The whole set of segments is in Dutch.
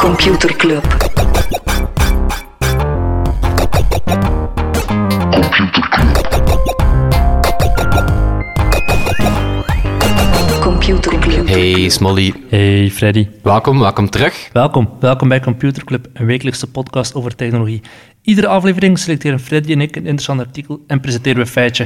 Computer Club. Computer Club. Hey Smolly, Hey Freddy, welkom, welkom terug. welkom. Welkom bij Computer Club, een wekelijkse podcast over technologie. Iedere aflevering selecteren Freddy en ik een interessant artikel en presenteren we een feitje.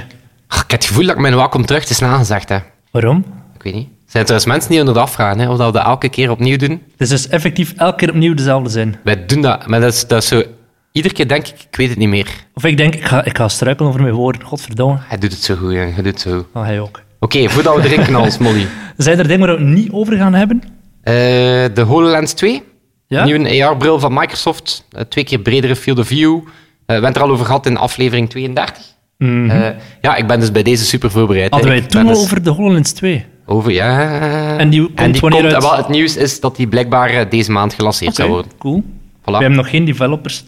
Ah, Ik heb het gevoel dat ik mijn welkom terug te snel gezegd heb. Waarom? Ik weet niet. Er Zijn trouwens mensen die onder de afvragen hè, of dat we dat elke keer opnieuw doen? Het is dus effectief elke keer opnieuw dezelfde zin. Wij doen dat, maar dat is, dat is zo... Iedere keer denk ik, ik weet het niet meer. Of ik denk, ik ga, ik ga struikelen over mijn woorden, godverdomme. Hij doet het zo goed, jongen. Hij doet het zo goed. Maar hij ook. Oké, voordat we erin knallen, Smolly. Zijn er dingen waar we het niet over gaan hebben? Eh, de HoloLens 2, Ja? nieuwe AR-bril van Microsoft. eh, twee keer bredere field of view. Eh, we hebben het er al over gehad in aflevering 32. Eh, ja, ik ben dus bij deze super voorbereid. hè. Hmm. Mhm. Hadden wij Ik het toen ben al dus- over de HoloLens 2? Over, ja. En die komt wanneer komt- uit? wel, het nieuws is dat die blijkbaar eh, deze maand gelanceerd zou worden. cool. Voilà. We hebben nog geen developers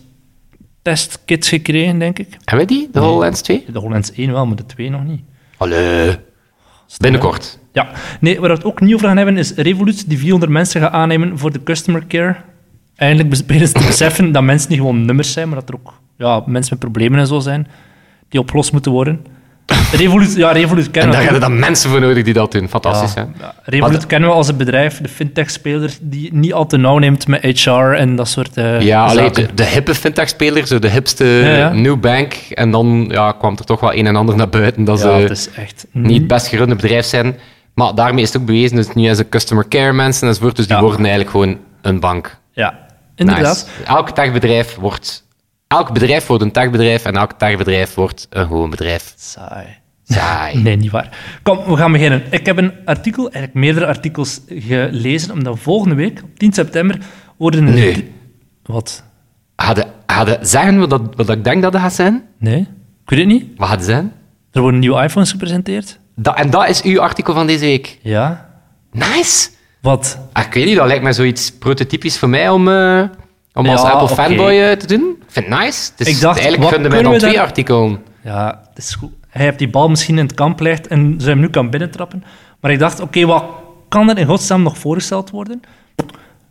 testkits gekregen, denk ik. Hebben we die, de HoloLens 2? De HoloLens 1 wel, maar de 2 nog niet. Hallo. Binnenkort. Ja, nee, waar we het ook niet over gaan hebben is Revolut, die 400 mensen gaat aannemen voor de customer care. Eindelijk bes- beginnen ze te beseffen dat mensen niet gewoon nummers zijn, maar dat er ook ja, mensen met problemen en zo zijn, die opgelost moeten worden. Revolut, ja, Revolut En kennen daar we. hebben dan mensen voor nodig die dat doen. Fantastisch, ja, hè? ja, Revolut Maar- kennen we als een bedrijf, de fintech-speler, die niet al te nauw neemt met HR en dat soort eh Ja, allee, zaken. de, de hippe fintech-speler, zo de hipste Ja, ja. new bank. En dan ja, kwam er toch wel een en ander naar buiten dat ja, het ze is Mhm. echt niet het best gerunde bedrijf zijn. Maar daarmee is het ook bewezen dat het nu is een customer care mensen enzovoort. Dus die Ja. worden eigenlijk gewoon een bank. Ja, inderdaad. Nice. Elk techbedrijf wordt... Elk bedrijf wordt een techbedrijf en elk techbedrijf wordt een gewoon bedrijf. Saai. Saai. Nee, niet waar. Kom, we gaan beginnen. Ik heb een artikel, eigenlijk meerdere artikels gelezen, omdat volgende week, op 10 september, worden... er- Nee. Wat? Hadden, hadden, zeggen we dat, wat ik denk dat dat gaat zijn? Nee? Ik weet het niet. Wat gaat het zijn? Er worden nieuwe iPhones gepresenteerd. Dat, en dat is uw artikel van deze week. Ja. Nice! Wat? Ah, ik weet niet, dat lijkt me zoiets prototypisch voor mij om, eh, om als Ja, Apple oké. fanboy eh, te doen. Ik vind het nice. Het is, Ik dacht, eigenlijk wat vinden mij kunnen dan we twee daar- artikelen. Ja, het is goed. Hij heeft die bal misschien in het kamp gelegd en ze hem nu kan binnentrappen. Maar ik dacht, oké, wat kan er in godsnaam nog voorgesteld worden?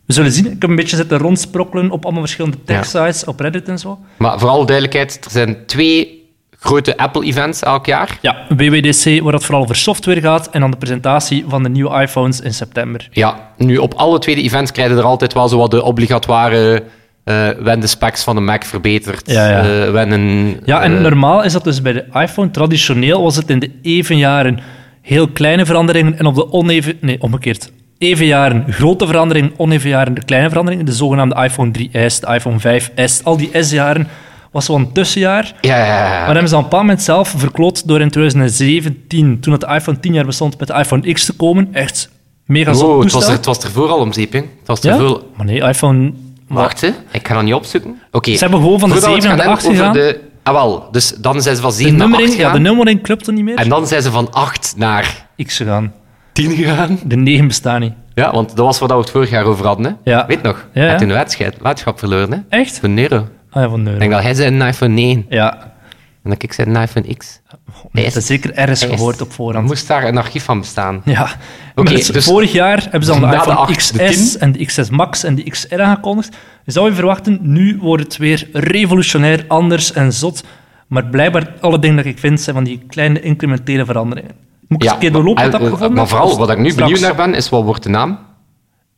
We zullen zien. Ik heb een beetje zitten rondsprokkelen op allemaal verschillende tech-sites, op Reddit en zo. Maar voor alle duidelijkheid, er zijn twee grote Apple-events elk jaar. Ja, WWDC, waar het vooral over software gaat, en dan de presentatie van de nieuwe iPhones in september. Ja, nu op alle tweede events krijgen er altijd wel zo wat de obligatoire. eh wen de specs van de Mac verbeterd. Ja, ja. eh, wen een, Ja, en eh, normaal is dat dus bij de iPhone. Traditioneel was het in de even jaren heel kleine veranderingen en op de oneven... Nee, omgekeerd. Even jaren grote veranderingen, oneven jaren de kleine veranderingen. De zogenaamde iPhone 3S, de iPhone 5S, al die S-jaren was zo'n tussenjaar. ja, ja, ja, ja. Maar hebben ze op een bepaald moment zelf verkloot door in 2017, toen het de iPhone 10 jaar bestond, met de iPhone X te komen. Echt mega zot Wow, Oh, het, toestel. was er, het was ervoor al om zeep, hè. Het was ja? ervoor... Maar nee, iPhone... Wacht, hè. Ik ga dat niet opzoeken. Oké. Ze hebben gewoon van de Voordat we het 7 naar de gaan 8 hebben gegaan. over De... Ah, wel. Dus dan zijn ze van De 7 naar 8 nummering, ja, gegaan. de nummering klopt er niet meer. En dan zijn ze van 8 naar X gegaan. 10 gegaan. De 9 bestaan niet. Ja, want dat was wat we het vorig jaar over hadden, hè. Ja. Weet nog? Ja, Hij ja. heeft een wedstrijd- weddenschap verloren, hè. Echt? Voor een euro. Ik Ah ja, van euro. denk dat hij zei een iPhone 9 Ja, en dat ik zei een iPhone X. dat Best. is zeker ergens Best. gehoord op Dan voorhand. moest daar een archief van bestaan. Ja. Oké, Maar dus dus- vorig jaar hebben ze dan de Na de iPhone acht, de XS tien. en de XS Max en de XR aangekondigd. Je zou je verwachten, nu wordt het weer revolutionair, anders en zot. Maar blijkbaar, alle dingen dat ik vind, zijn van die kleine incrementele veranderingen. Moet ik eens een keer doorlopen maar- wat ik en- gevonden Maar heb? vooral, Of wat ik nu straks? benieuwd naar ben, is wat wordt de naam?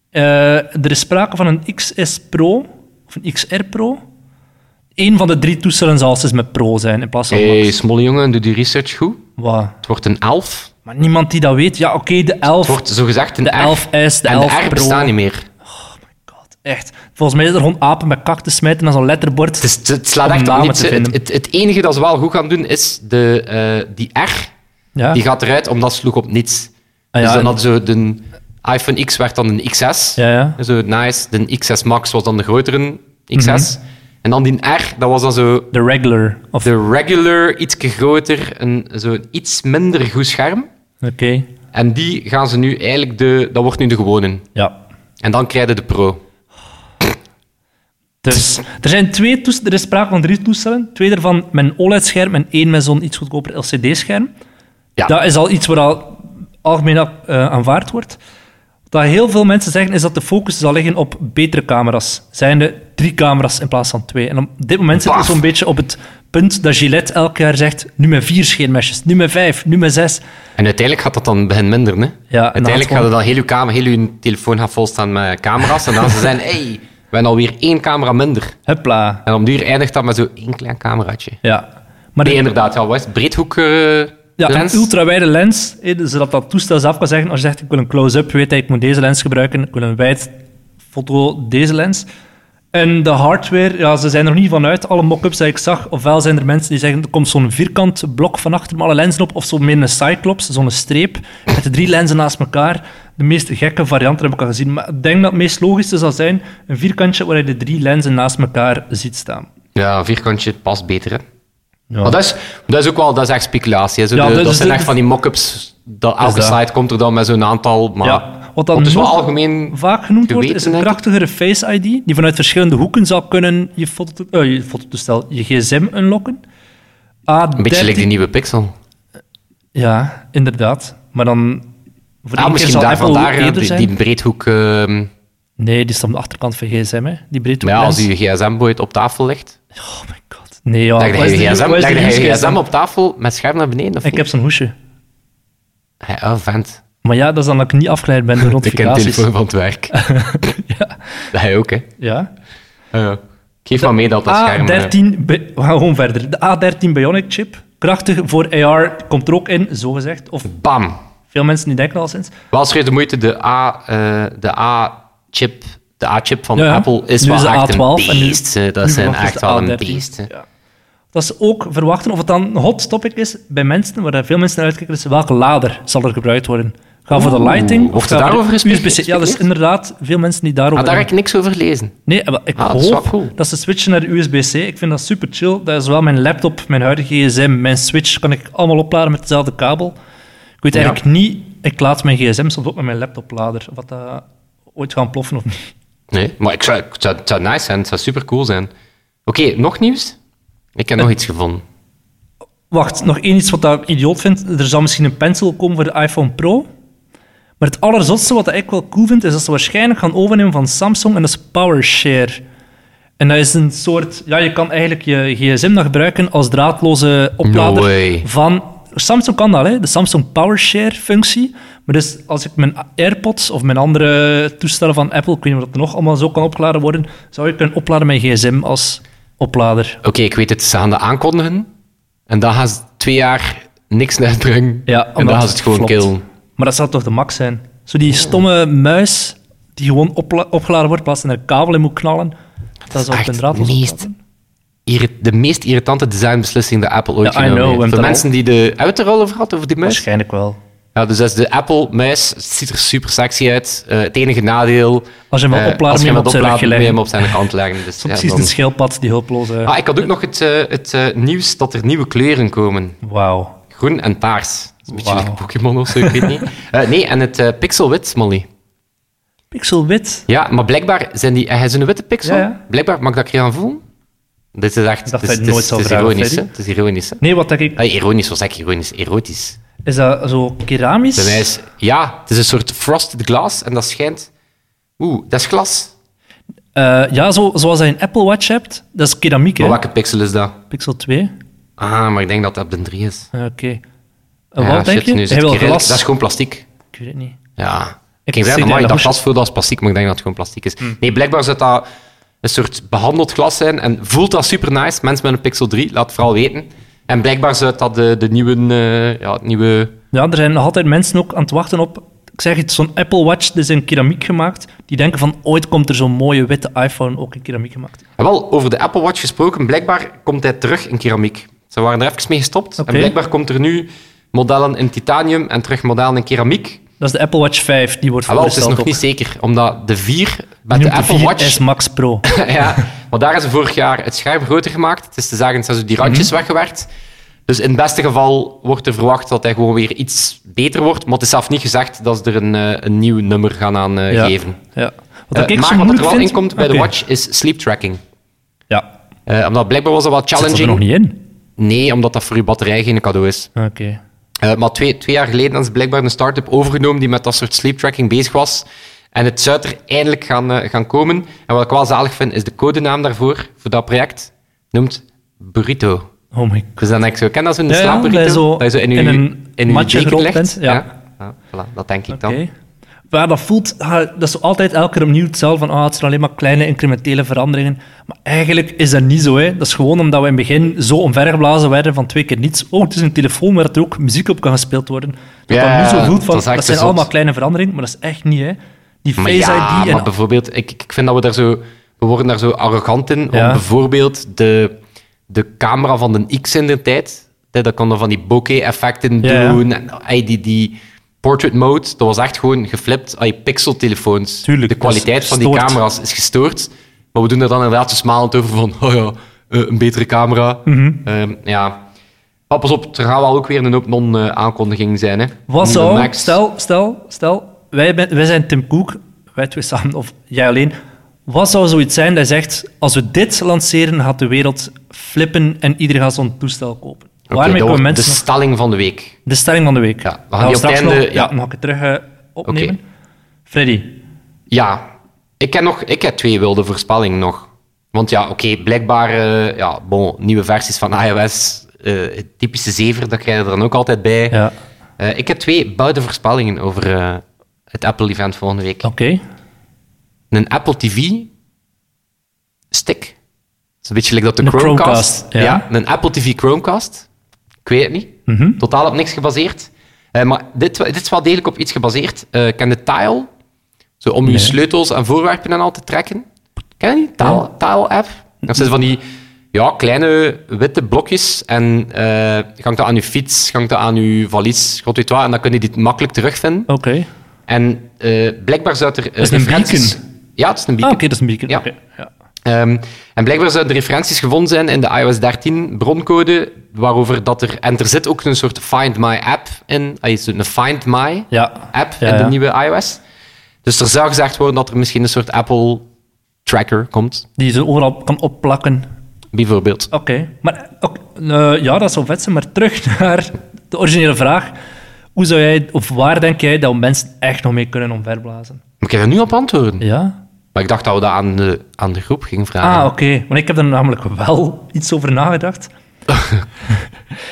Eh, er is sprake van een XS Pro, of een XR Pro. Eén van de drie toestellen zal dus met Pro zijn, in plaats van Hé, hey, Max. Eh, smolle jongen, doe die research goed. Wat? Het wordt een 11. Maar niemand die dat weet. Ja, oké, de 11. Het wordt zogezegd een De R. 11S, de en 11 de R Pro. bestaat niet meer. God, echt. Volgens mij is er gewoon apen met kak te smijten aan zo'n letterbord. Het, is, het slaat Om echt op namen niets. te hè. Het, vinden. het, het enige dat ze wel goed gaan doen, is de, eh, die R. ja. Die gaat eruit, omdat ze sloeg op niets. Ah, ja, dus dan en- had zo de iPhone X werd dan een XS. Ja, ja. Zo nice. De XS Max was dan de grotere XS. Mhm. En dan die R, dat was dan zo De regular. Of... de regular, iets groter, een, zo iets minder goed scherm. Oké. En die gaan ze nu eigenlijk de... Dat wordt nu de gewone. Ja. En dan krijg je de Pro. Dus er zijn twee toestellen. Er is sprake van drie toestellen. Twee daarvan met een OLED-scherm en één met zo'n iets goedkoper LCD-scherm. Ja. Dat is al iets waar al algemeen eh, aanvaard wordt. Wat dat heel veel mensen zeggen, is dat de focus zal liggen op betere camera's. Zijn er drie camera's in plaats van twee. En op dit moment zit het Paf. zo'n beetje op het punt dat Gillette elk jaar zegt, nu met vier scheermesjes, nu met vijf, nu met zes. En uiteindelijk gaat dat dan beginnen minderen. Hè? uiteindelijk gewoon- gaat dan heel uw, kamer, heel uw telefoon gaan volstaan met camera's. En dan ze zijn, hey, we hebben alweer één camera minder. Hupla. En om duur eindigt dat met zo één klein cameraatje. Ja. Maar Nee, de- inderdaad. Ja, wat is het? Breedhoek eh, ja, lens? een ultrawijde lens, eh, dus zodat dat toestel zelf kan zeggen, als je zegt, ik wil een close-up, weet hij, ik moet deze lens gebruiken, ik wil een wijd foto, deze lens. En de hardware, ja, ze zijn er nog niet vanuit, alle mock-ups die ik zag, ofwel zijn er mensen die zeggen, er komt zo'n vierkant blok van achter met alle lenzen op, of zo'n een cyclops, zo'n streep, met de drie lenzen naast elkaar. De meest gekke varianten heb ik al gezien, maar ik denk dat het meest logische zal zijn, een vierkantje waar je de drie lenzen naast elkaar ziet staan. Ja, een vierkantje past beter. Hè? Maar dat is, dat is ook wel dat is echt speculatie. Hè? Zo Ja, de- dat dat is zijn de- echt van die mock-ups. Dat elke dat. site komt er dan met zo'n aantal. Maar Ja, wat dan het is dus wel nog algemeen. vaak genoemd wordt, geweten, is een denk ik. krachtigere Face ID, die vanuit verschillende hoeken zou kunnen je, foto, eh, je fototoestel, je gsm unlocken. A13 Een beetje like die nieuwe Pixel. Ja, inderdaad. Maar dan... Voor één Ah, keer misschien zal daar Apple vandaar ook eh, eerder die, zijn. die breedhoek. ehm, Nee, die staat aan de achterkant van gsm, hè. Die breedte maar ja, als je gsm-boy op tafel ligt, Oh my god. Nee, ja. leg waar je is de- je gsm, waar is de leg je je nieuwsgsm? gsm op tafel met scherm naar beneden. Of Ik heb zo'n hoesje. niet? Ja, vent. Maar ja, dat is dan dat ik niet afgeleid ben door Ik ken notificaties. telefoon van het werk. Ja. Dat hij ook, hè? ja. Ja, Ah, ja. Geef maar mee dat dat scherm. eh, A13, bi- we gaan gewoon verder. De A13 Bionic chip, krachtig voor AR, komt er ook in, zogezegd. Of Bam. veel mensen die denken al sinds. Wel schreef de moeite, de A, eh, de A-chip, de A-chip van Ja, ja. Apple is Nu wel is de echt A12 en een nu- beest. hè. dat nu zijn verwachten echt ze wel een A13. beest. hè. Ja. Dat ze ook verwachten, of het dan een hot topic is bij mensen, waar veel mensen naar uitkijken, is welke lader zal er gebruikt worden. Gaan voor de Oeh, lighting? wordt er gaan we daarover de gesproken- USB-C? Ja, dat is inderdaad veel mensen die daarover... Ah, daar heb ik niks over gelezen. Nee, maar ik Ah, dat is wel hoop cool. dat ze switchen naar USB-C. Ik vind dat super chill. Dat is wel mijn laptop, mijn huidige gsm, mijn switch. Kan ik allemaal opladen met dezelfde kabel. Ik weet Ja. eigenlijk niet... Ik laat mijn gsm soms ook met mijn laptoplader. Wat dat eh, ooit gaan ploffen of niet. Nee, maar ik zou, het, zou, het zou nice zijn, het zou super cool zijn. Oké, nog nieuws? Ik heb nog iets gevonden. Wacht, nog één iets wat ik idioot vind. Er zal misschien een pencil komen voor de iPhone Pro. Maar het allerzotste wat ik wel cool vind, is dat ze waarschijnlijk gaan overnemen van Samsung en dat is PowerShare. En dat is een soort... Ja, je kan eigenlijk je gsm nog gebruiken als draadloze oplader way. van... Samsung kan dat, hè? de Samsung PowerShare-functie. Maar dus als ik mijn AirPods of mijn andere toestellen van Apple, ik weet niet of dat nog allemaal zo kan opgeladen worden, zou ik kunnen opladen mijn gsm als oplader. Oké, ik weet het, ze gaan dat aankondigen. En dan gaan ze twee jaar niks uitbrengen. Ja, en omdat dan gaan ze het gewoon flopt. killen. Maar dat zou toch de max zijn? Zo die stomme muis die gewoon opla- opgeladen wordt, plaats en er kabel in moet knallen. Dat is echt op een draad. het meest irri- de meest irritante designbeslissing die Apple ooit Ja, I genomen know, we heeft. Voor hebben het mensen die de uit de rol over hadden, over die muis. Waarschijnlijk wel. Ja, dus dat is de Apple-muis. Het ziet er super sexy uit. Eh, het enige nadeel... Als je hem wil eh, als opladen, je moet hem je hem wilt op zijn opladen, moet je rugje leggen. hem op zijn kant leggen. Dus, ja, Precies dan- een schildpad die hulploze... ah, ik had ook nog het, eh, het eh, nieuws dat er nieuwe kleuren komen. Wauw. Groen en paars. Dat is een beetje Wauw. like Pokémon of zo, ik weet niet. Eh, nee, en het eh, pixelwit, Molly. Pixelwit. Ja, maar blijkbaar zijn die... Hij is een witte pixel. Ja, ja. Blijkbaar mag ik dat ik je aan voelen. Dit is echt... het dacht dat is, je het is- nooit zou het is vragen, ironisch, hè. Freddy. Het is ironisch, hè. Nee, wat denk ik... Ah, ironisch was ik ironisch. Erotisch. Is dat zo Bij mij keramisch? is, ja, het is een soort frosted glass en dat schijnt. Oeh, dat is glas. Eh, ja, zo, zoals je een Apple Watch hebt. Dat is keramiek, Maar hè? welke pixel is dat? Pixel 2. Ah, maar ik denk dat dat op de 3 is. Eh, Oké. En Ja, wat denk shit, je? nu zit Hij wil ik redelijk- glas. Dat is gewoon plastic. Ik weet het niet. Ja. Ik Ik, ging zie zeggen, dat amai, in dat de glas voor dat is plastic, maar ik denk dat het gewoon plastic is. Hmm. Nee, blijkbaar zou dat een soort behandeld glas zijn en voelt dat super nice. Mensen met een Pixel 3, laat het vooral weten. En blijkbaar zou dat de, de nieuwe, eh, ja, het nieuwe. Ja, er zijn nog altijd mensen ook aan het wachten op. Ik zeg het, zo'n Apple Watch, dat is in keramiek gemaakt. Die denken van ooit komt er zo'n mooie witte iPhone ook in keramiek gemaakt. En wel, over de Apple Watch gesproken, blijkbaar komt hij terug in keramiek. Ze waren er even mee gestopt. Oké. En blijkbaar komt er nu modellen in titanium en terug modellen in keramiek. Dat is de Apple Watch 5, die wordt Ah, wel, het is voorgesteld nog op. niet zeker, omdat de 4 met Die de noemt Apple de Watch... 4S Max Pro. ja, maar daar is ze vorig jaar het scherm groter gemaakt. Het is te zeggen, ze hebben die randjes Mhm. weggewerkt. Dus in het beste geval wordt er verwacht dat hij gewoon weer iets beter wordt. Maar het is zelf niet gezegd dat ze er een, eh, een nieuw nummer gaan aan eh, ja. geven. Ja. Eh, Wat ik zo maar wat er moeilijk wel vind... in komt bij de Oké. watch is sleep tracking. Ja, Eh, omdat blijkbaar was dat wel dat zit er challenging. nog niet in. Nee, omdat dat voor je batterij geen cadeau is. Oké. Eh, maar twee, twee jaar geleden is blijkbaar een start-up overgenomen die met dat soort sleep tracking bezig was. En het zou er eindelijk gaan, eh, gaan komen. En wat ik wel zalig vind, is de codenaam daarvoor, voor dat project, noemt Burrito. Oh my Dus dan denk ik zo, ken dat zo'n Ja, ja, slaapburrito? dat je zo dat je zo in, in uw, een in uw matje deken gerold legt. bent, ja. Ja, Ah, voilà, dat denk ik Oké. dan. Waar dat voelt, ah, dat is zo altijd elke keer opnieuw hetzelfde. Van, ah, het zijn alleen maar kleine incrementele veranderingen. Maar eigenlijk is dat niet zo. Hè. Dat is gewoon omdat we in het begin zo omvergeblazen werden van twee keer niets. Oh, het is een telefoon waar er ook muziek op kan gespeeld worden. Dat Ja, dat nu zo voelt van, dat is dat, echt zijn zot. allemaal kleine veranderingen, maar dat is echt niet. Hè. Die Maar Face ja, ID en maar bijvoorbeeld, ik, ik vind dat we daar zo, we worden daar zo arrogant in. Ja. Om bijvoorbeeld de, de camera van de X in de tijd, hè, dat kon er van die bokeh-effecten Ja, ja. doen. En, ey, die, die portrait mode, dat was echt gewoon geflipt. Ay, pixeltelefoons. Tuurlijk, de dat is kwaliteit van die gestoord. camera's is gestoord. Maar we doen er dan inderdaad zo smalend over van, oh ja, eh, een betere camera. Mhm. Ehm, ja. Maar pas op, er gaan wel ook weer een hoop non-aankondiging zijn. Hè. Wat Nieuwe zou, Macs. stel, stel, stel wij, ben- wij zijn Tim Cook, wij twee samen, of jij alleen. Wat zou zoiets zijn dat je zegt, als we dit lanceren, gaat de wereld flippen en iedereen gaat zo'n toestel kopen? Oké, Waarmee dat komen wordt de mensen... nog- stelling van de week. De stelling van de week. Ja, we gaan Gaan die op straks het einde- nog, ja. ja. nog een keer terug eh, opnemen. Oké. Freddy, Ja, ik heb, nog, ik heb twee wilde voorspellingen nog. Want ja, oké, blijkbaar eh, ja, bon, nieuwe versies van iOS, eh, het typische zever, dat krijg je er dan ook altijd bij. Ja. Eh, ik heb twee boude voorspellingen over eh, het Apple-event volgende week. oké. Een Apple TV-stick. Dat is een beetje like dat de Een Chromecast. Chromecast, ja. ja. een Apple TV Chromecast. Ik weet het niet. Mhm. Totaal op niks gebaseerd. Eh, maar dit, wa- dit is wel degelijk op iets gebaseerd. Eh, ken de tile? Zo om Nee. je sleutels en voorwerpen en al te trekken. Ken je die tile, tile-app? Dat zijn van die ja, kleine witte blokjes. En eh hangt dat aan je fiets, hangt dat aan je valies, god weet wat. En dan kun je dit makkelijk terugvinden. Oké, En eh, blijkbaar zou er... eh, is een referenties- beacon. Ja, het is een Ah, beacon. oké, dat is een beacon. Ja. Oké, ja. Ehm, en blijkbaar zouden er referenties gevonden zijn in de iOS 13 broncode, waarover dat er... En er zit ook een soort Find My app in. Ah, je ziet een Find My Ja. app Ja, in de ja. nieuwe iOS. Dus er zou gezegd worden dat er misschien een soort Apple tracker komt, Die ze overal kan opplakken. bijvoorbeeld. Oké, maar ok, eh, ja, dat zou vet zijn. Maar terug naar de originele vraag. Hoe zou jij, of waar denk jij dat mensen echt nog mee kunnen omverblazen? Moet ik er nu op antwoorden? Ja? Maar ik dacht dat we dat aan de, aan de groep gingen vragen. Ah, oké. Want ik heb er namelijk wel iets over nagedacht.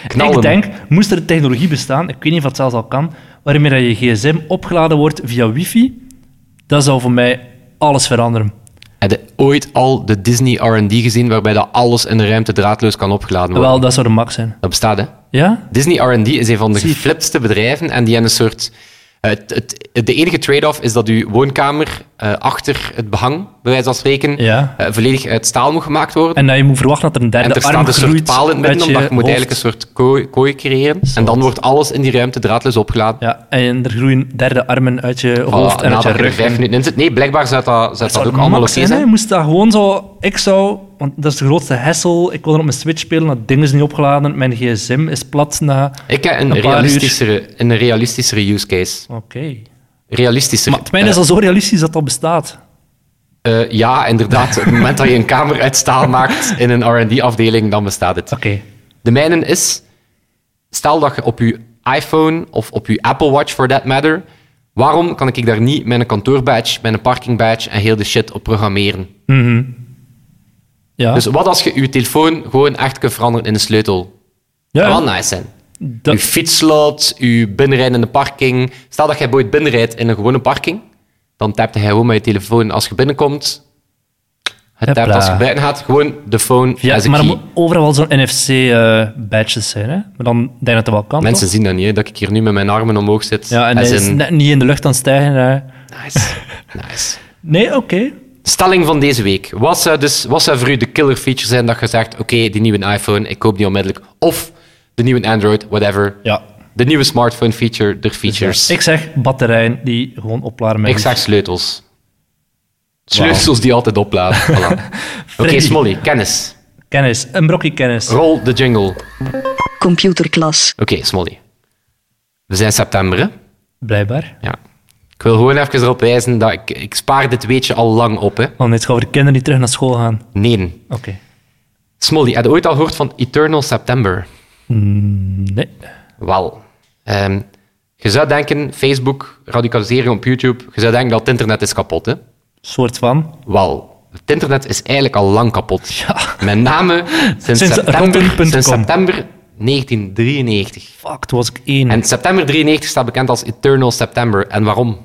Knallen. Ik denk, moest er technologie bestaan, ik weet niet of dat zelfs al kan, waarmee dat je gsm opgeladen wordt via wifi, dat zou voor mij alles veranderen. Heb je ooit al de Disney R&D gezien waarbij dat alles in de ruimte draadloos kan opgeladen worden? Wel, dat zou de max zijn. Dat bestaat, hè? Ja? Disney R&D is een van de Zie. geflipste bedrijven en die hebben een soort... eh, het, het, het- de enige trade-off is dat uw woonkamer eh, achter het behang, bij wijze van spreken, Ja. eh, volledig uit staal moet gemaakt worden. En dat je moet verwachten dat er een En, derde er arm staat een soort groeit paal in het midden, uit omdat je moet hoofd. eigenlijk een soort kooi, kooi creëren. En dan wordt alles in die ruimte draadloos opgeladen. Ja, en er groeien derde armen uit je Voilà, hoofd en nadat uit je er rug. vijf minuten in zit. Nee, blijkbaar zou dat, zou dat, ook allemaal oké zijn. hè? zijn. Moest dat gewoon zo... Ik zou... Want dat is de grootste hessel. Ik wil er op mijn Switch spelen, dat ding is niet opgeladen. Mijn gsm is plat na... Ik heb een Een paar uur. realistischere, een realistischere use case. Oké. Dus, Realistischer. Maar het mijne is al zo realistisch dat dat bestaat. Eh, ja, inderdaad. Op het moment dat je een kamer uit staal maakt in een R&D-afdeling, dan bestaat het. Oké. De mijne is, stel dat je op je iPhone of op je Apple Watch, for that matter, waarom kan ik daar niet mijn kantoorbadge, mijn parkingbadge en heel de shit op programmeren? Mhm. Ja. Dus wat als je je telefoon gewoon echt kunt veranderen in een sleutel? ja, Dat zou wel nice zijn. dat- Uw fietslot, uw binnenrijden in de parking. Stel dat jij ooit binnenrijdt in een gewone parking, dan tapte hij gewoon met je telefoon als je binnenkomt. Het tapt Hopla. als je buiten gaat, gewoon de phone Ja, as a maar er key. moet overal wel zo'n NFC-badges eh, zijn, hè? Maar dan denk ik dat dat wel kan, Mensen toch? zien dat niet, hè, dat ik hier nu met mijn armen omhoog zit. Ja, en As hij is in- net niet in de lucht aan het stijgen. hè. Nice. nice. Nee, oké. Stelling van deze week. Wat zou, dus, wat zou voor u de killer feature zijn dat je zegt: oké, die nieuwe iPhone, ik koop die onmiddellijk. Of de nieuwe Android, whatever. Ja. De nieuwe smartphone feature, de features. Ik zeg batterijen die gewoon opladen met Ik wifi. zeg sleutels. Sleutels die altijd opladen. Voilà. Oké, Freddy. Smolly, kennis. Kennis, een brokje kennis. Roll de jingle. Oké, Computerklas. Smolly. We zijn september, hè? Blijkbaar. Ja. Ik wil gewoon even erop wijzen dat ik, ik spaar dit weetje al lang op, hè? Want dit gaan we de kinderen die terug naar school gaan. Nee. Oké. Smolly, heb je ooit al gehoord van Eternal September? Mm, Nee. Wel. Ehm, je zou denken, Facebook, radicalisering op YouTube, je zou denken dat het internet is kapot. Hè? soort van. Wel, het internet is eigenlijk al lang kapot. Ja. Met name sinds, Sinds september, rotten.com. sinds september 1993. Fuck, toen was ik één. En september 93 staat bekend als Eternal September. En waarom?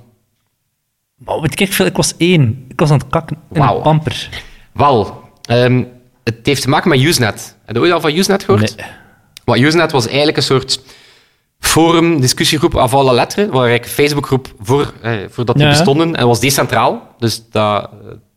Maar weet ik echt veel, ik was één. Ik was aan het kakken in Wauw. een pamper. Wel, ehm, het heeft te maken met Usenet. Heb je ooit al van Usenet gehoord? Nee. Wat Usenet was eigenlijk een soort forum, discussiegroep à la lettre, waar eigenlijk een Facebookgroep voor, eh, voordat die Ja. bestonden. En was decentraal. Dus dat, eh,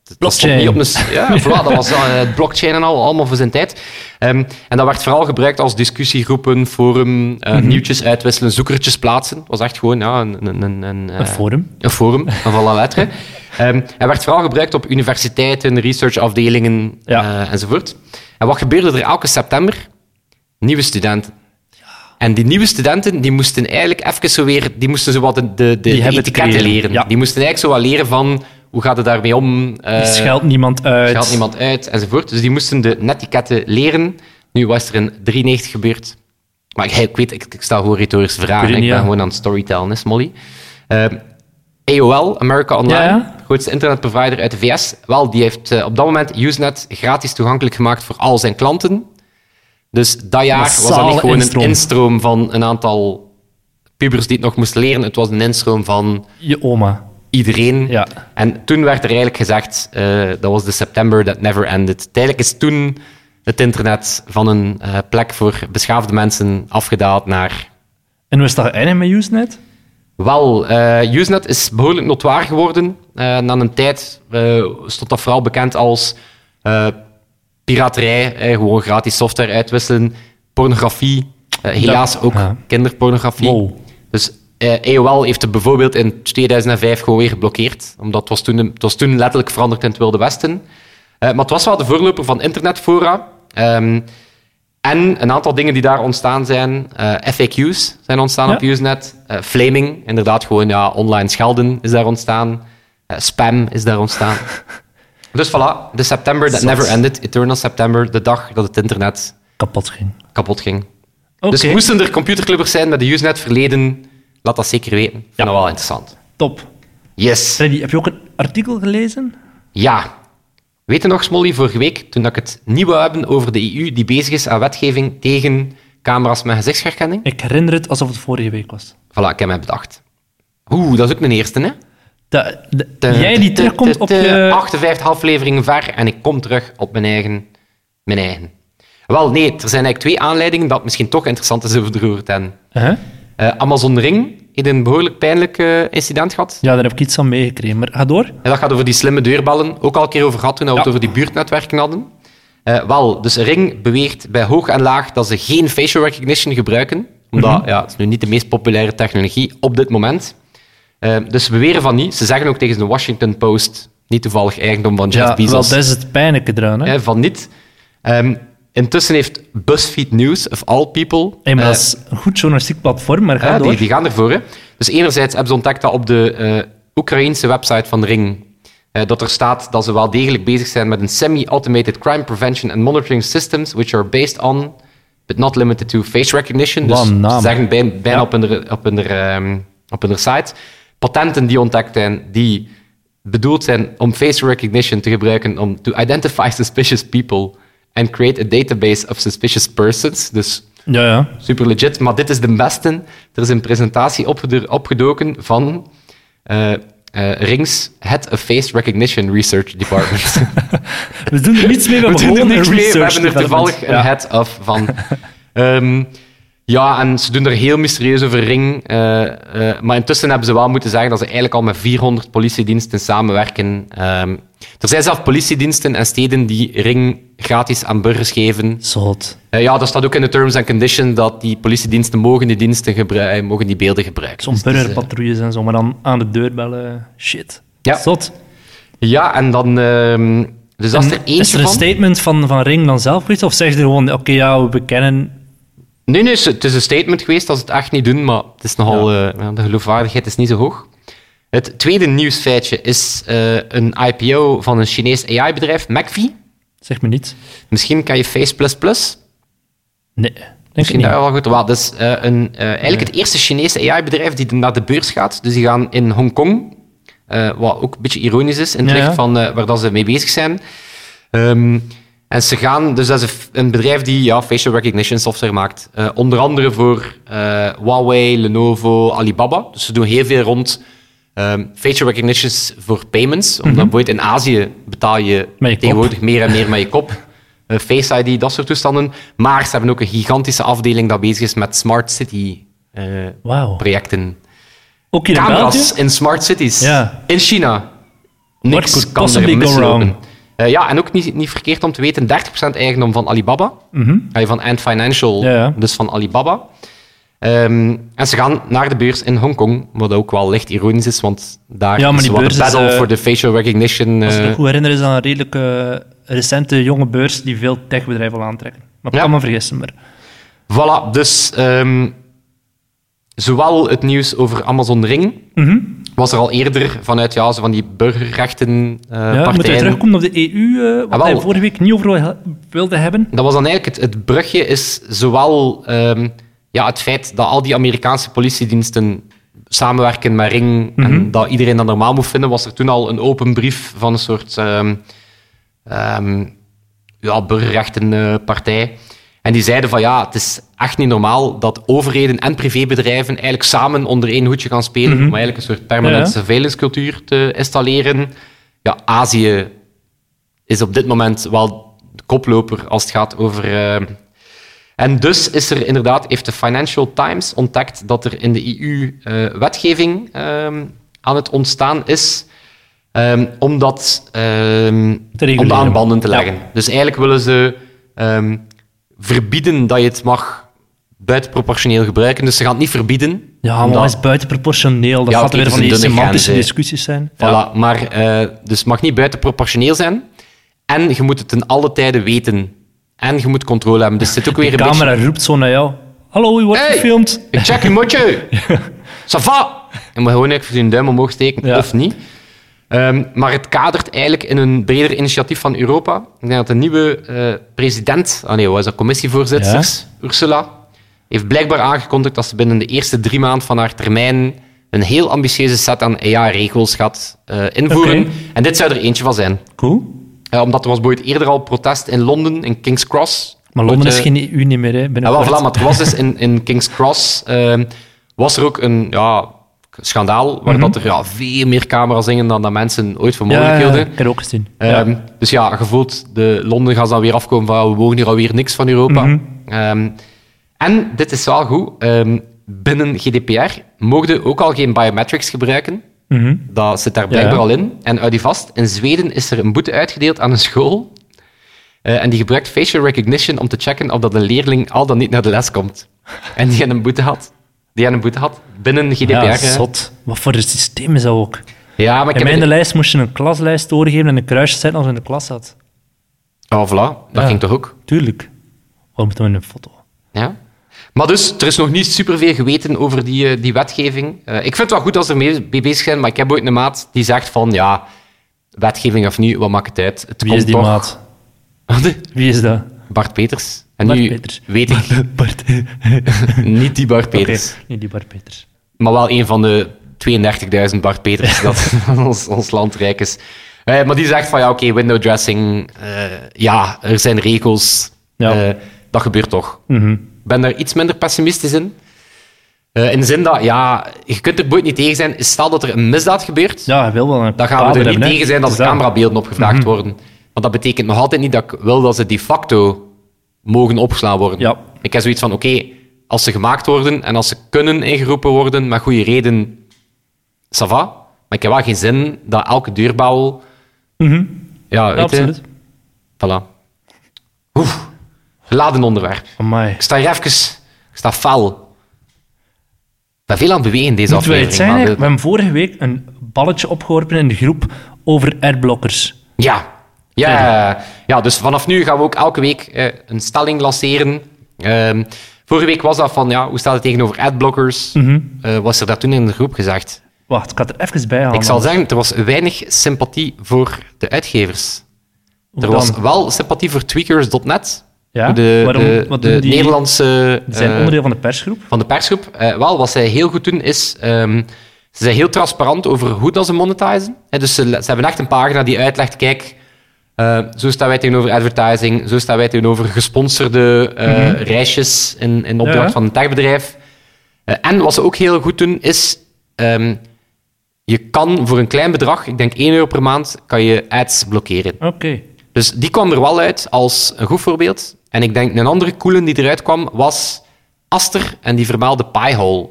dat Blockchain. stond niet op een... s- Ja, voilà, dat was eh, het blockchain en al, allemaal voor zijn tijd. Ehm, en dat werd vooral gebruikt als discussiegroepen, forum, eh, Mhm. nieuwtjes uitwisselen, zoekertjes plaatsen. Het was echt gewoon ja, een, een, een, een, eh, Een forum. een forum van alle letteren. Ehm hij werd vooral gebruikt op universiteiten, researchafdelingen Ja. eh, enzovoort. En wat gebeurde er elke september? Nieuwe studenten. En die nieuwe studenten die moesten eigenlijk even zo weer, die moesten zo wat de, de, de Die hebben te etiketten creëren, leren. ja. Die moesten eigenlijk zo wat leren van hoe gaat het daarmee om, Je eh scheldt niemand uit. scheldt niemand uit enzovoort. Dus die moesten de netiketten leren. Nu was er in 93 gebeurd. Maar ik, ik weet, ik, ik stel gewoon retorische vragen. Ik Ik, weet het niet, ben ja. gewoon aan het storytellen, hè, Smolly. Eh, AOL, America Online, Ja, ja. grootste internetprovider uit de VS. Wel, die heeft eh, op dat moment Usenet gratis toegankelijk gemaakt voor al zijn klanten. Dus dat jaar was dat Massale niet gewoon instroom. een instroom van een aantal pubers die het nog moesten leren. Het was een instroom van Je oma. iedereen. Ja. En toen werd er eigenlijk gezegd, eh, dat was de september that never ended. Tijdelijk is toen het internet van een eh, plek voor beschaafde mensen afgedaald naar... En hoe is dat geëindigd met Usenet? Wel, eh, Usenet is behoorlijk notwaar geworden. Eh, na een tijd eh, stond dat vooral bekend als eh, piraterij, eh, gewoon gratis software uitwisselen, pornografie, eh, helaas ook ja. kinderpornografie. Wow. Dus eh AOL heeft het bijvoorbeeld in 2005 gewoon weer geblokkeerd. Omdat het was toen, het was toen letterlijk veranderd in het Wilde Westen. Eh, maar het was wel de voorloper van internetfora. Ehm, en een aantal dingen die daar ontstaan zijn. eh, FAQ's zijn ontstaan Ja. op Usenet. Eh, flaming, inderdaad gewoon ja, online schelden is daar ontstaan. Eh, spam is daar ontstaan. dus voilà, de september that Zot. never ended. Eternal September, de dag dat het internet Kapot ging. kapot ging. Oké, Dus moesten er computerclubbers zijn met de Usenet verleden, laat dat zeker weten. Ik Vind Ja. dat wel interessant. top. Yes. Freddy, heb je ook een artikel gelezen? Ja. Weet je nog, Smolly, vorige week, toen dat ik het nieuwe hebben over de EU die bezig is aan wetgeving tegen camera's met gezichtsherkenning? Ik herinner het alsof het vorige week was. Voilà, ik heb mij bedacht. Oeh, dat is ook mijn eerste, hè? Da- da- Te- jij die te- terugkomt te- op te- je... 58 afleveringen ver en ik kom terug op mijn eigen... Mijn eigen. Wel, nee, er zijn eigenlijk twee aanleidingen dat het misschien toch interessant is over de roer te hebben. Huh? Eh, Amazon Ring heeft een behoorlijk pijnlijk eh, incident gehad. Ja, daar heb ik iets aan meegekregen. Maar ga door. En dat gaat over die slimme deurbellen. Ook al een keer over gehad toen we het Ja. over die buurtnetwerken hadden. Eh, wel, dus Ring beweert bij hoog en laag dat ze geen facial recognition gebruiken. Omdat Mhm. ja, het is nu niet de meest populaire technologie op dit moment. Eh, dus ze beweren van niet. Ze zeggen ook tegen de Washington Post, niet toevallig eigendom van Jeff Ja, wel, Bezos, dat is het pijnlijke eraan. Hè? eh, van niet. Ehm, intussen heeft BuzzFeed News, of all people... Hey, maar eh, dat is een goed journalistiek platform, maar ga ja, door. die, die gaan ervoor. Hè. Dus enerzijds hebben ze ontdekt dat op de eh Oekraïnse website van Ring eh, dat er staat dat ze wel degelijk bezig zijn met een semi-automated crime prevention and monitoring systems which are based on but not limited to face recognition. Dus Wat een naam. ze zeggen bij- bijna Ja. op, hun, op, hun, ehm, op hun site. Patenten die ontdekt zijn die bedoeld zijn om face recognition te gebruiken om to identify suspicious people and create a database of suspicious persons. Dus Ja, ja. super legit, maar dit is de beste. Er is een presentatie opgedo- opgedoken van eh, eh, Rings Head of Face Recognition Research Department. We doen er niets mee, we, hebben We doen gewoon er niks een mee, we research hebben er development. toevallig een Ja. head of van. Ehm, ja, en ze doen er heel mysterieus over ring. eh, eh, maar intussen hebben ze wel moeten zeggen dat ze eigenlijk al met 400 politiediensten samenwerken. Ehm, er zijn zelf politiediensten en steden die ring gratis aan burgers geven. Zot. Eh, ja, dat staat ook in de terms and conditions dat die politiediensten mogen die, diensten gebru- eh, mogen die beelden gebruiken. Zo'n Dus het is, eh, burgerpatrouilles en zo, maar dan aan de deur bellen. Shit. Ja. Zot. eh, ja, en dan... ehm, dus als er En is eentje er een van... statement van, van Ring dan zelf geweest? Of zeggen ze gewoon, oké, ja, we bekennen... Nee, nee, het is een statement geweest dat ze het echt niet doen, maar het is nogal, eh, ja, de geloofwaardigheid is niet zo hoog. Het tweede nieuwsfeitje is eh, een IPO van een Chinees AI-bedrijf, McVie. Zeg me niets. Misschien kan je Face++. Nee. Denk ik Misschien niet. dat wel goed. Wel, dat is eh, een, eh, eigenlijk het eerste Chinese AI-bedrijf die naar de beurs gaat. Dus die gaan in Hongkong, eh, wat ook een beetje ironisch is, in het Ja, licht ja. van eh, waar dat ze mee bezig zijn. Ehm, en ze gaan, dus dat is een f- een bedrijf die ja, facial recognition software maakt. Eh, onder andere voor eh, Huawei, Lenovo, Alibaba. Dus ze doen heel veel rond ehm, facial recognitions voor payments. Omdat bijvoorbeeld in Azië betaal je, Mhm. Met je kop. tegenwoordig meer en meer met je kop. Eh, Face ID, dat soort toestanden. Maar ze hebben ook een gigantische afdeling dat bezig is met smart city eh, Wauw. projecten. Ook hier in Camera's België? in smart cities. Ja. In China. What Niks could kan possibly er go mislopen. wrong? Eh, ja, en ook niet, niet verkeerd om te weten, 30% eigendom van Alibaba. Eh, Van Ant Financial, Mhm. Ja, ja. dus van Alibaba. Ehm, en ze gaan naar de beurs in Hongkong, wat ook wel licht ironisch is, want daar Ja, maar is die wat de beurs is, battle eh, voor de facial recognition. Als ik me eh, goed herinner, is dat een redelijk eh, recente jonge beurs die veel techbedrijven wil aantrekken. Maar ik Ja. kan me vergissen. Maar... Voilà, dus ehm, zowel het nieuws over Amazon Ring Mhm. was er al eerder vanuit ja, zo van die eh, burgerrechtenpartijen. Ja, moeten we terugkomen op de EU, eh wat Ah, wel. wij vorige week niet over wil- wilden hebben? dat was dan eigenlijk het, het brugje, is zowel ehm, ja, het feit dat al die Amerikaanse politiediensten samenwerken met Ring en dat iedereen dat normaal moet vinden, was er toen al een open brief van een soort ehm, ehm, ja, burgerrechtenpartij. En die zeiden van ja, het is echt niet normaal dat overheden en privébedrijven eigenlijk samen onder één hoedje gaan spelen om eigenlijk een soort permanente Ja. surveillance cultuur te installeren. Ja, Azië is op dit moment wel de koploper als het gaat over. eh, en dus is er inderdaad, heeft de Financial Times ontdekt dat er in de EU eh, wetgeving ehm, aan het ontstaan is. ehm, om dat ehm, om dat reguleren. aan banden te Ja. leggen. Dus eigenlijk willen ze ehm, verbieden dat je het mag buitenproportioneel gebruiken. Dus ze gaan het niet verbieden. Ja, maar omdat- dat is buitenproportioneel. Dat Ja, gaat oké, weer het van is die een dunne semantische grens, hè. discussies zijn. Ja. Voilà, maar, eh, dus het mag niet buitenproportioneel zijn. En je moet het ten alle tijden weten. En je moet controle hebben. Dus het zit ook weer De een camera roept zo naar jou. Hallo, je wordt Hey! gefilmd. beetje... Ik check je motje. Sava. En maar gewoon even een duim omhoog steken, Ja. of niet. Ehm, maar het kadert eigenlijk in een breder initiatief van Europa. Ik denk dat de nieuwe eh, president, ah nee, hoe is dat, commissievoorzitter, Ursula, heeft blijkbaar aangekondigd dat ze binnen de eerste drie maanden van haar termijn een heel ambitieuze set aan AI-regels gaat eh, invoeren. Oké. En dit zou er eentje van zijn. Cool. Eh, omdat er was bijvoorbeeld eerder al protest in Londen, in King's Cross. Maar Londen Wordt, is eh, geen EU niet meer, hè. ja, wel, binnenkort. voilà, maar het was dus in, in King's Cross ehm, was er ook een ja, schandaal waar dat er ja, veel meer camera's hingen dan dat mensen ooit voor mogelijk Mhm. ja, ja, hielden. ik heb het ook gezien. Ehm, Dus ja, gevoeld, de Londen gaan ze dan weer afkomen van ja, we mogen hier alweer niks van Europa. Mhm. Ehm, en dit is wel goed, ehm, binnen GDPR mogen ook al geen biometrics gebruiken. Dat zit daar blijkbaar Mhm. Ja. al in. En uit die vast, in Zweden is er een boete uitgedeeld aan een school. eh, en die gebruikt facial recognition om te checken of dat een leerling al dan niet naar de les komt. En die had een boete had. Die had een boete had binnen GDPR. Ja, hè. zot. Wat voor een systeem is dat ook? ja maar ik In heb mijn het- lijst moest je een klaslijst doorgeven en een kruisje zetten als je in de klas zat. Oh, voilà. Dat Ja. ging toch ook? Tuurlijk. Waarom moeten we een foto? Ja. Maar dus, er is nog niet superveel geweten over die, eh, die wetgeving. Eh, ik vind het wel goed als ze er mee mee bezig zijn, maar ik heb ooit een maat die zegt van, ja, wetgeving of niet, wat maakt het uit? Het Wie komt is die toch- maat? Wie is dat? Bart Peters. En Bart nu Peters. weet ik Bart. niet die Bart Oké, Peters, niet die Bart Peters. maar wel een van de 32.000 Bart Peters dat aan ons, ons land rijk is. Eh, maar die zegt van, ja, oké, window dressing, eh, ja, er zijn regels, Ja. Eh, dat gebeurt toch. Mhm. Ik ben daar iets minder pessimistisch in. Eh, in de zin dat, ja, je kunt er boeit niet tegen zijn. Stel dat er een misdaad gebeurt, Ja, hij wil wel een dan gaan we kabel er niet hebben, hè. tegen zijn dat Is de camerabeelden opgevraagd Mhm. worden. Want dat betekent nog altijd niet dat ik wil dat ze de facto mogen opgeslaan worden. Ja. Ik heb zoiets van, oké, als ze gemaakt worden en als ze kunnen ingeroepen worden met goede reden, ça va. Maar ik heb wel geen zin dat elke deurbouw... Ja, Ja, weet je, Mhm. absoluut. Voilà. Oef, geladen onderwerp. Amai. Ik sta hier even... Ik sta fel. Ik ben veel aan het bewegen deze Moeten we aflevering. het zijn? maar hè? We de- hebben vorige week een balletje opgeworpen in de groep over adblockers. Ja. Ja, ja, dus vanaf nu gaan we ook elke week eh, een stelling lanceren. Ehm, vorige week was dat van, ja, hoe staat het tegenover adblockers? Mhm. Eh, was er dat toen in de groep gezegd? Wacht, ik had er even bij halen. Ik zal zeggen, er was weinig sympathie voor de uitgevers. Hoe Er dan? was wel sympathie voor tweakers.net, Ja? de, Waarom, de- wat de doen die? Nederlandse Die zijn eh, onderdeel van de persgroep. van de persgroep. Eh, wel, wat zij heel goed doen is. ehm, ze zijn heel transparant over hoe dat ze monetizen. Hè, dus ze, ze hebben echt een pagina die uitlegt: kijk, eh, zo staan wij tegenover advertising, zo staan wij tegenover gesponsorde eh, reisjes in, in opdracht Ja, ja. van een techbedrijf. Eh, en wat ze ook heel goed doen is. ehm, je kan voor een klein bedrag, ik denk 1 euro per maand, kan je ads blokkeren. Oké. Dus die kwam er wel uit als een goed voorbeeld. En ik denk een andere coole die eruit kwam was Aster en die vermaalde Piehole.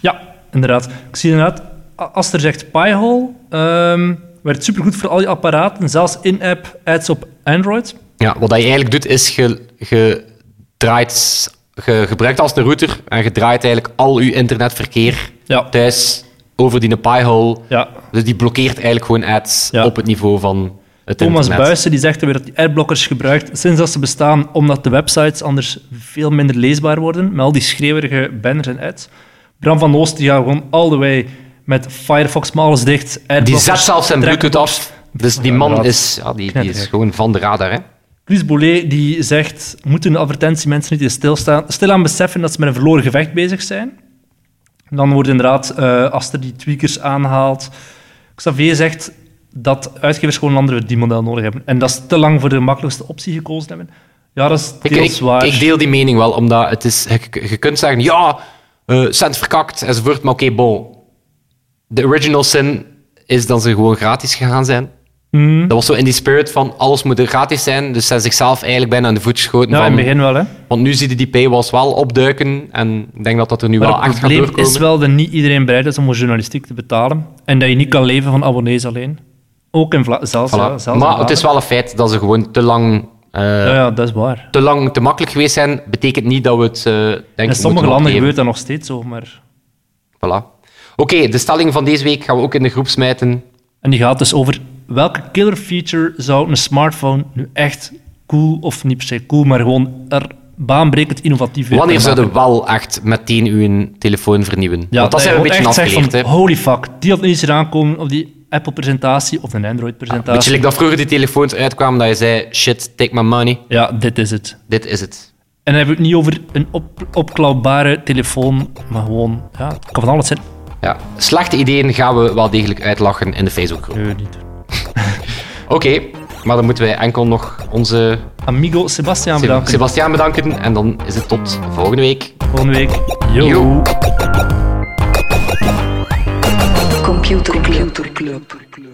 Ja, inderdaad. Ik zie inderdaad, A- Aster zegt Pi-hole. ehm, werkt supergoed voor al je apparaten, zelfs in-app ads op Android. Ja, wat je eigenlijk doet is je ge, draait, ge, gebruikt als een router en je draait eigenlijk al je internetverkeer Ja. thuis over die Piehole. Ja. Dus die blokkeert eigenlijk gewoon ads Ja. op het niveau van het Thomas internet. Buijsen die zegt weer dat die adblockers gebruikt sinds dat ze bestaan, omdat de websites anders veel minder leesbaar worden, met al die schreeuwerige banners en ads. Bram van Oost die gaat gewoon all the way met Firefox maar alles dicht. Die adblockers, zet zelfs zijn trackers. Bluetooth af. Dus die man inderdaad. is, ja, die, die is Knettergek. gewoon van de radar. Hè? Chris Boulet die zegt: moeten de advertentiemensen niet eens stilstaan, stilaan beseffen dat ze met een verloren gevecht bezig zijn? En dan wordt inderdaad eh Aster die tweakers aanhaalt. Xavier zegt dat uitgevers gewoon een ander verdienmodel nodig hebben. En dat ze te lang voor de makkelijkste optie gekozen hebben. Ja, dat is Ik, deels ik- waar. ik deel die mening wel, omdat het is, je, je kunt zeggen, ja, eh cent verkakt enzovoort, maar oké, bon. De original sin is dat ze gewoon gratis gegaan Hm. zijn. Hmm. Dat was zo in die spirit van alles moet er gratis zijn, dus ze zijn zichzelf eigenlijk bijna in de voet geschoten. ja, in van, het begin wel, hè. Want nu zie je die paywalls wel opduiken en ik denk dat dat er nu wel Maar het echt gaat probleem doorkomen. is wel dat niet iedereen bereid is om voor journalistiek te betalen. En dat je niet kan leven van abonnees alleen. Ook in Vla zelfs, Voilà. ja, zelfs in maar het is Vlaanderen. wel een feit dat ze gewoon te lang, eh, Ja, ja, dat is waar. te, lang te makkelijk geweest zijn. Betekent niet dat we het eh denk ik In moeten sommige landen opgeven. gebeurt dat nog steeds zo, maar... Voilà. Oké, de stelling van deze week gaan we ook in de groep smijten. En die gaat dus over welke killer feature zou een smartphone nu echt cool of niet per se cool, maar gewoon er baanbrekend innovatief weer Wanneer kunnen zouden we maken. wel echt meteen uw telefoon vernieuwen? ja, Want dat je zijn we een gewoon beetje echt zegt afgeleerd. hè. van, holy fuck, die had niet eens eraan komen op die Apple-presentatie of een Beetje Android-presentatie. like dat vroeger die telefoons uitkwamen dat je zei, shit, take my money, ja, dit is het. dit is het. En dan hebben we het niet over een op opklapbare telefoon, maar gewoon, ja, het kan van alles zijn. Ja. Slechte ideeën gaan we wel degelijk uitlachen in de Facebookgroep. Nee, niet. Oké, maar dan moeten wij enkel nog onze Amigo Sebastian, bedankt. Sebastiaan bedanken en dan is het tot volgende week. Volgende week. Yo. Yo. Computer Club. Computer Club.